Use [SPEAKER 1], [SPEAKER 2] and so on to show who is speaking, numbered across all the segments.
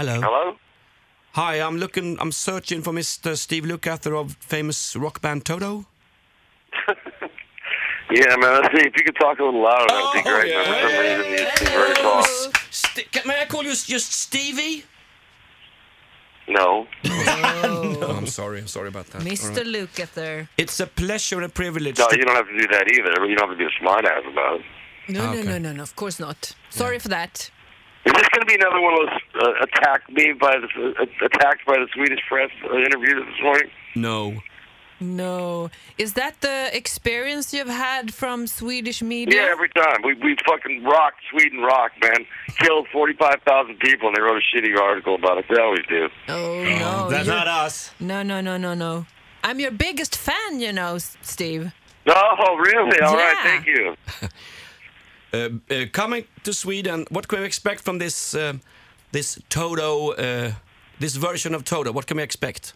[SPEAKER 1] Hello.
[SPEAKER 2] Hello?
[SPEAKER 1] Hi, I'm looking. I'm searching for Mr. Steve Lukather of famous rock band Toto.
[SPEAKER 2] Yeah, man, I see if you could talk a little louder, that would be great. man. For some reason, you seem very tall.
[SPEAKER 1] St- can- may I call you s- just Stevie?
[SPEAKER 2] No.
[SPEAKER 1] Oh, I'm sorry. I'm sorry about that. All
[SPEAKER 3] Mr.
[SPEAKER 1] right.
[SPEAKER 3] Lukather.
[SPEAKER 1] It's a pleasure and a privilege.
[SPEAKER 2] No,
[SPEAKER 1] to-
[SPEAKER 2] you don't have to do that either. You don't have to be a smart ass about it.
[SPEAKER 3] No,
[SPEAKER 1] Ah, okay.
[SPEAKER 3] no, no, no, no, of course not. Sorry for that.
[SPEAKER 2] Is this going to be another one of those uh, attacked me by the, uh, attacked by the Swedish press uh, interviews this morning?
[SPEAKER 1] no.
[SPEAKER 3] No. Is that the experience you've had from Swedish media?
[SPEAKER 2] Yeah, every time we we fucking rocked Sweden rock, man. Killed forty five thousand people, and they wrote a shitty article about it. They always do.
[SPEAKER 3] oh, no.
[SPEAKER 1] That's
[SPEAKER 3] you-
[SPEAKER 1] not us.
[SPEAKER 3] No, no, no, no, no. I'm your biggest fan, you know, S- Steve.
[SPEAKER 2] Oh, really? All right,
[SPEAKER 3] Yeah.
[SPEAKER 2] thank you.
[SPEAKER 1] Uh, uh, coming to Sweden, what can we expect from this uh, this Toto, uh, this version of Toto? What can we expect?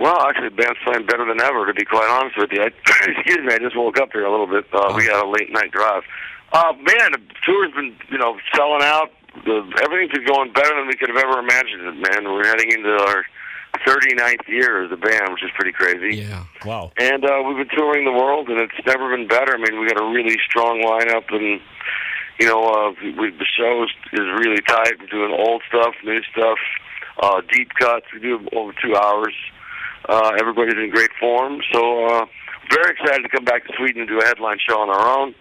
[SPEAKER 2] Well, actually, the band's playing better than ever, to be quite honest with you. I, excuse me, I just woke up here a little bit. Uh, We got a late night drive. Uh, man, the tour's been, you know, selling out. The, everything's been going better than we could have ever imagined it, man. We're heading into our 39th year as a band, which is pretty crazy.
[SPEAKER 1] Yeah.
[SPEAKER 4] Wow.
[SPEAKER 2] And uh, we've been touring the world, and it's never been better. I mean, we got a really strong lineup, and you know, uh, we, the show is, is really tight. We're doing old stuff, new stuff, uh, deep cuts. We do over two hours. Uh, everybody's in great form, so uh, very excited to come back to Sweden and do a headline show on our own.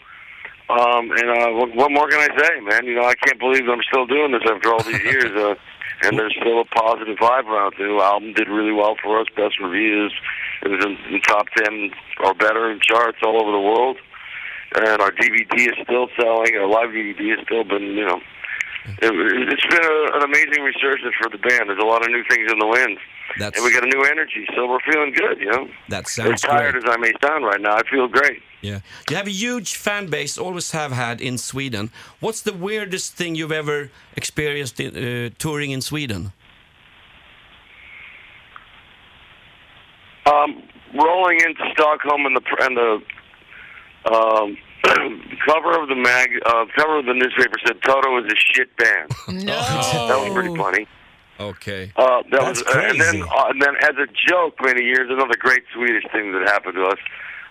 [SPEAKER 2] Um, and uh, what, what more can I say, man? You know, I can't believe that I'm still doing this after all these years. Uh, and there's still a positive vibe around it. The new album did really well for us, best reviews. It was in, in top 10 or better in charts all over the world. And our DVD is still selling. Our live DVD has still been, you know, it, it's been a, an amazing resurgence for the band. There's a lot of new things in the wind.
[SPEAKER 1] That's-
[SPEAKER 2] and we got a new energy, so we're feeling good, you know?
[SPEAKER 1] That
[SPEAKER 2] As
[SPEAKER 1] sounds
[SPEAKER 2] tired
[SPEAKER 1] great.
[SPEAKER 2] as I may sound right now, I feel great.
[SPEAKER 1] Yeah. You have a huge fan base, always have had in Sweden. What's the weirdest thing you've ever experienced in, uh, touring in Sweden?
[SPEAKER 2] Um, rolling into Stockholm and the and the um, cover of the mag uh, cover of the newspaper said Toto is a shit band.
[SPEAKER 3] No.
[SPEAKER 2] That was pretty funny.
[SPEAKER 1] Oh. Okay.
[SPEAKER 2] Uh, that
[SPEAKER 4] Oh. That's
[SPEAKER 2] was uh, and then
[SPEAKER 4] crazy.
[SPEAKER 2] uh, and then as a joke many years another great Swedish thing that happened to us.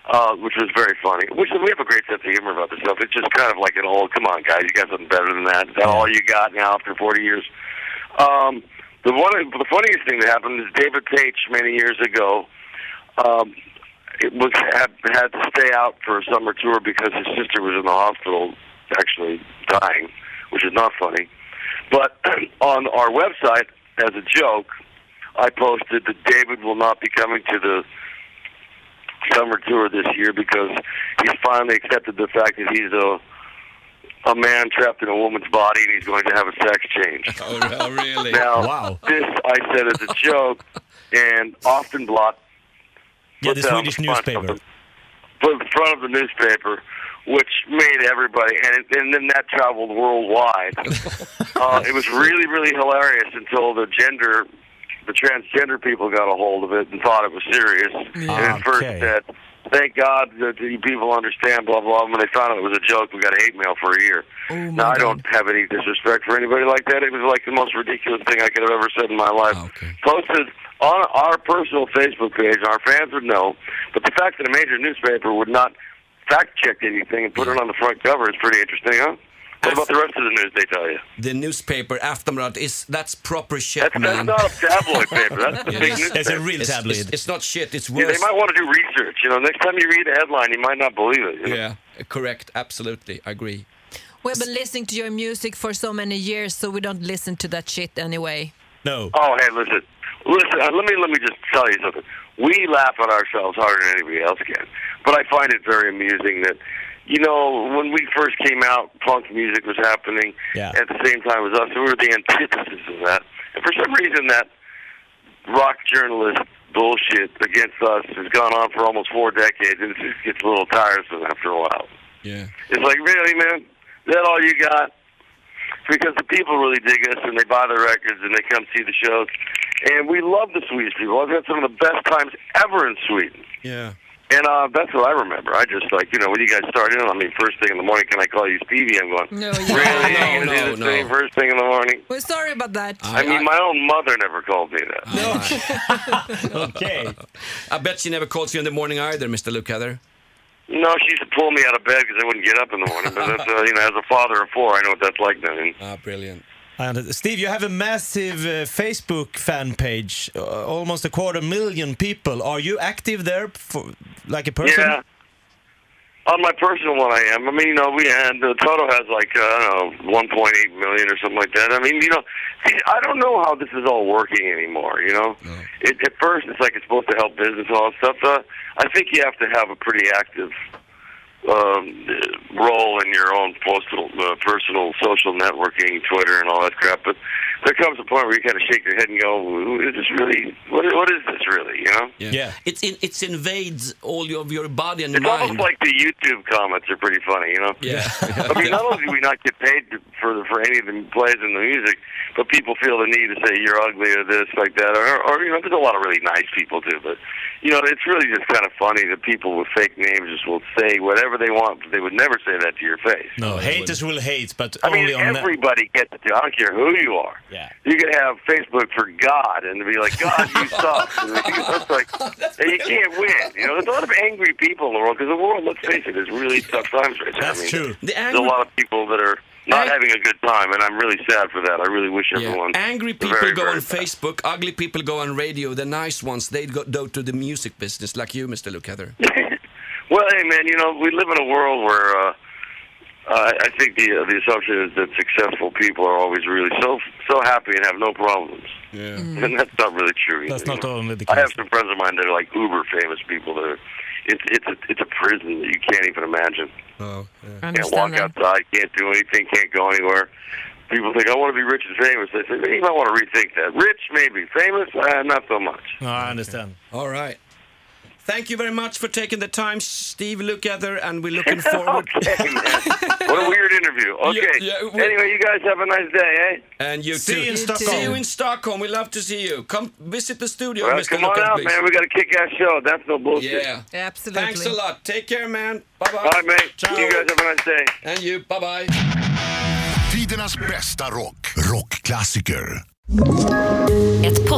[SPEAKER 2] Uh, which was very funny. Which we have a great sense of humor about this stuff. It's just kind of like an old, come on, guys, you got something better than that. Is that all you got now after 40 years? Um, the one, the funniest thing that happened is David Page many years ago. Um, it was had, had to stay out for a summer tour because his sister was in the hospital, actually dying, which is not funny. But on our website, as a joke, I posted that David will not be coming to the summer tour this year because he's finally accepted the fact that he's a a man trapped in a woman's body and he's going to have a sex change.
[SPEAKER 1] oh, really?
[SPEAKER 2] Now,
[SPEAKER 4] Wow.
[SPEAKER 2] this I said as a joke, and often blocked
[SPEAKER 4] Yeah,
[SPEAKER 2] put
[SPEAKER 4] the
[SPEAKER 2] that on
[SPEAKER 4] Swedish
[SPEAKER 2] front of
[SPEAKER 4] newspaper.
[SPEAKER 2] the- Put in front of the newspaper, which made everybody, and it, and then that traveled worldwide. uh, it was really, really hilarious until the gender, the transgender people got a hold of it and thought it was serious. And at first
[SPEAKER 4] Okay.
[SPEAKER 2] said, "Thank God that the people understand." Blah blah. And when they found out it was a joke, we got hate mail for a year.
[SPEAKER 4] Oh,
[SPEAKER 2] now I don't have any disrespect for anybody like that. It was like the most ridiculous thing I could have ever said in my life
[SPEAKER 1] Oh, okay.
[SPEAKER 2] posted on our personal Facebook page, and our fans would know. But the fact that a major newspaper would not fact check anything and put it on the front cover is pretty interesting, huh? What about the rest of the news they tell you?
[SPEAKER 1] The newspaper Aftonbladet is that's proper shit,
[SPEAKER 2] That's,
[SPEAKER 1] man.
[SPEAKER 2] that's not a tabloid paper. That's the big newspaper.
[SPEAKER 4] It's a real
[SPEAKER 1] it's,
[SPEAKER 4] tabloid.
[SPEAKER 1] it's- it's not shit. It's
[SPEAKER 2] yeah,
[SPEAKER 1] worse.
[SPEAKER 2] they might want to do research. You know, next time you read a headline, you might not believe it. you know?
[SPEAKER 1] Yeah, correct. Absolutely, I agree.
[SPEAKER 3] We've been listening to your music for so many years, so we don't listen to that shit anyway.
[SPEAKER 4] no.
[SPEAKER 2] Oh, hey, listen, listen. uh, Let me let me just tell you something. We laugh at ourselves harder than anybody else can, but I find it very amusing that. You know, when we first came out, punk music was happening
[SPEAKER 4] Yeah.
[SPEAKER 2] at the same time as us. We were the antithesis of that. And for some reason, that rock journalist bullshit against us has gone on for almost four decades, and it just gets a little tiresome after a while.
[SPEAKER 1] Yeah.
[SPEAKER 2] It's like, really, man? Is that all you got? Because the people really dig us and they buy the records and they come see the shows. And we love the Swedish people. I've had some of the best times ever in Sweden.
[SPEAKER 1] Yeah.
[SPEAKER 2] And uh, that's what I remember. I just like, you know, when you guys started in, I mean, first thing in the morning, can I call you Stevie? I'm going,
[SPEAKER 3] No,
[SPEAKER 2] really?
[SPEAKER 3] you-
[SPEAKER 2] You're
[SPEAKER 1] No,
[SPEAKER 2] gonna do
[SPEAKER 1] no,
[SPEAKER 2] this
[SPEAKER 1] no.
[SPEAKER 2] thing first thing in the morning?
[SPEAKER 3] We're sorry about that.
[SPEAKER 2] I, mean, my own mother never called me that.
[SPEAKER 4] Okay.
[SPEAKER 1] I bet she never calls you in the morning either, Mr. Lukeather.
[SPEAKER 2] No, she used to pull me out of bed because I wouldn't get up in the morning. But that's, uh, you know, as a father of four, I know what that's like. Then And
[SPEAKER 1] Ah, brilliant.
[SPEAKER 4] I understand. uh, Steve, you have a massive uh, Facebook fan page, uh, almost a quarter million people. Are you active there, for, like a person?
[SPEAKER 2] yeah, on my personal one, I am. I mean, you know, we had the Toto has like uh, I don't know 1.8 million or something like that. I mean, you know, see, I don't know how this is all working anymore. You know, it, at first it's like it's supposed to help business and all that stuff. Uh, I think you have to have a pretty active um, uh, role in your own postal, uh, personal social networking, Twitter, and all that crap. But there comes a point where you kind of shake your head and go, "Is this really? What, what is this really?" You know.
[SPEAKER 1] Yeah.
[SPEAKER 4] Yeah.
[SPEAKER 1] It's in, it's invades all your, of your body and
[SPEAKER 2] It's
[SPEAKER 1] mind.
[SPEAKER 2] almost like the YouTube comments are pretty funny, you know.
[SPEAKER 1] yeah.
[SPEAKER 2] I mean, not only do we not get paid for for any of the plays and the music, but people feel the need to say you're ugly or this like that, or, or you know, there's a lot of really nice people too. But you know, it's really just kind of funny that people with fake names just will say whatever they want, but they would never say that to your face.
[SPEAKER 4] No,
[SPEAKER 1] I
[SPEAKER 4] haters will hate, but
[SPEAKER 2] I
[SPEAKER 4] only
[SPEAKER 2] mean,
[SPEAKER 4] on that.
[SPEAKER 2] everybody gets to. I don't care who you are.
[SPEAKER 4] Yeah.
[SPEAKER 2] You could have Facebook for God and be like, God, you suck. And it's like, and you can't win. You know, there's a lot of angry people in the world because the world, let's face it, is really tough times right now.
[SPEAKER 4] That's
[SPEAKER 2] I mean,
[SPEAKER 4] true.
[SPEAKER 1] The
[SPEAKER 2] There's a
[SPEAKER 1] angry,
[SPEAKER 2] lot of people that are not
[SPEAKER 1] Ang-
[SPEAKER 2] having a good time, and I'm really sad for that. I really wish
[SPEAKER 1] yeah.
[SPEAKER 2] everyone.
[SPEAKER 1] angry
[SPEAKER 2] the
[SPEAKER 1] people
[SPEAKER 2] very,
[SPEAKER 1] go
[SPEAKER 2] very
[SPEAKER 1] on
[SPEAKER 2] best.
[SPEAKER 1] Facebook, ugly people go on radio, the nice ones, they go, go to the music business, like you, Mr. Lukeather.
[SPEAKER 2] Well, hey, man, you know, we live in a world where uh, I I think the uh, the assumption is that successful people are always really so so happy and have no problems.
[SPEAKER 1] Yeah.
[SPEAKER 2] And that's not really true.
[SPEAKER 4] That's
[SPEAKER 2] either,
[SPEAKER 4] not
[SPEAKER 2] you know.
[SPEAKER 4] only the
[SPEAKER 2] I have
[SPEAKER 4] case.
[SPEAKER 2] some friends of mine that are like uber famous people that are. It's it's a, it's a prison that you can't even imagine.
[SPEAKER 1] Oh, yeah.
[SPEAKER 3] I
[SPEAKER 2] Can't walk
[SPEAKER 3] understand that.
[SPEAKER 2] outside, can't do anything, can't go anywhere. People think I want to be rich and famous. They say "Hey, you might want to rethink that. Rich, maybe famous, uh, not so much.
[SPEAKER 4] No, I understand.
[SPEAKER 1] All right. Thank you very much for taking the time, Steve Lukeather, and we're looking forward.
[SPEAKER 2] okay, man. what a weird interview. Okay.
[SPEAKER 1] yeah, we-
[SPEAKER 2] anyway, you guys have a nice day, eh?
[SPEAKER 1] And you
[SPEAKER 4] See
[SPEAKER 1] too.
[SPEAKER 4] you in
[SPEAKER 3] You
[SPEAKER 4] Stockholm.
[SPEAKER 1] See you in Stockholm. We love to see you. Come visit the studio,
[SPEAKER 2] Well,
[SPEAKER 1] Mr.
[SPEAKER 2] come on
[SPEAKER 1] Lukeather,
[SPEAKER 2] out,
[SPEAKER 1] please.
[SPEAKER 2] man. We got a kick-ass show. That's no bullshit.
[SPEAKER 1] Yeah.
[SPEAKER 3] Absolutely.
[SPEAKER 1] Thanks a lot. Take care, man. Bye
[SPEAKER 2] All
[SPEAKER 1] bye.
[SPEAKER 2] right, mate.
[SPEAKER 1] Ciao.
[SPEAKER 2] You guys have a nice day.
[SPEAKER 1] And you. Bye bye.
[SPEAKER 5] Tidernas bästa rock. Rockklassiker.
[SPEAKER 6] Ett